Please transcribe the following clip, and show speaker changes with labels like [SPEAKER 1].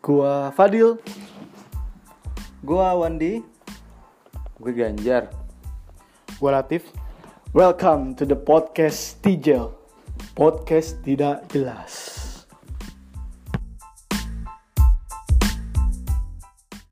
[SPEAKER 1] Gua Fadil.
[SPEAKER 2] Gua Wandi.
[SPEAKER 3] Gue Ganjar.
[SPEAKER 4] Gue Latif.
[SPEAKER 1] Welcome to the podcast Tijel. Podcast tidak jelas.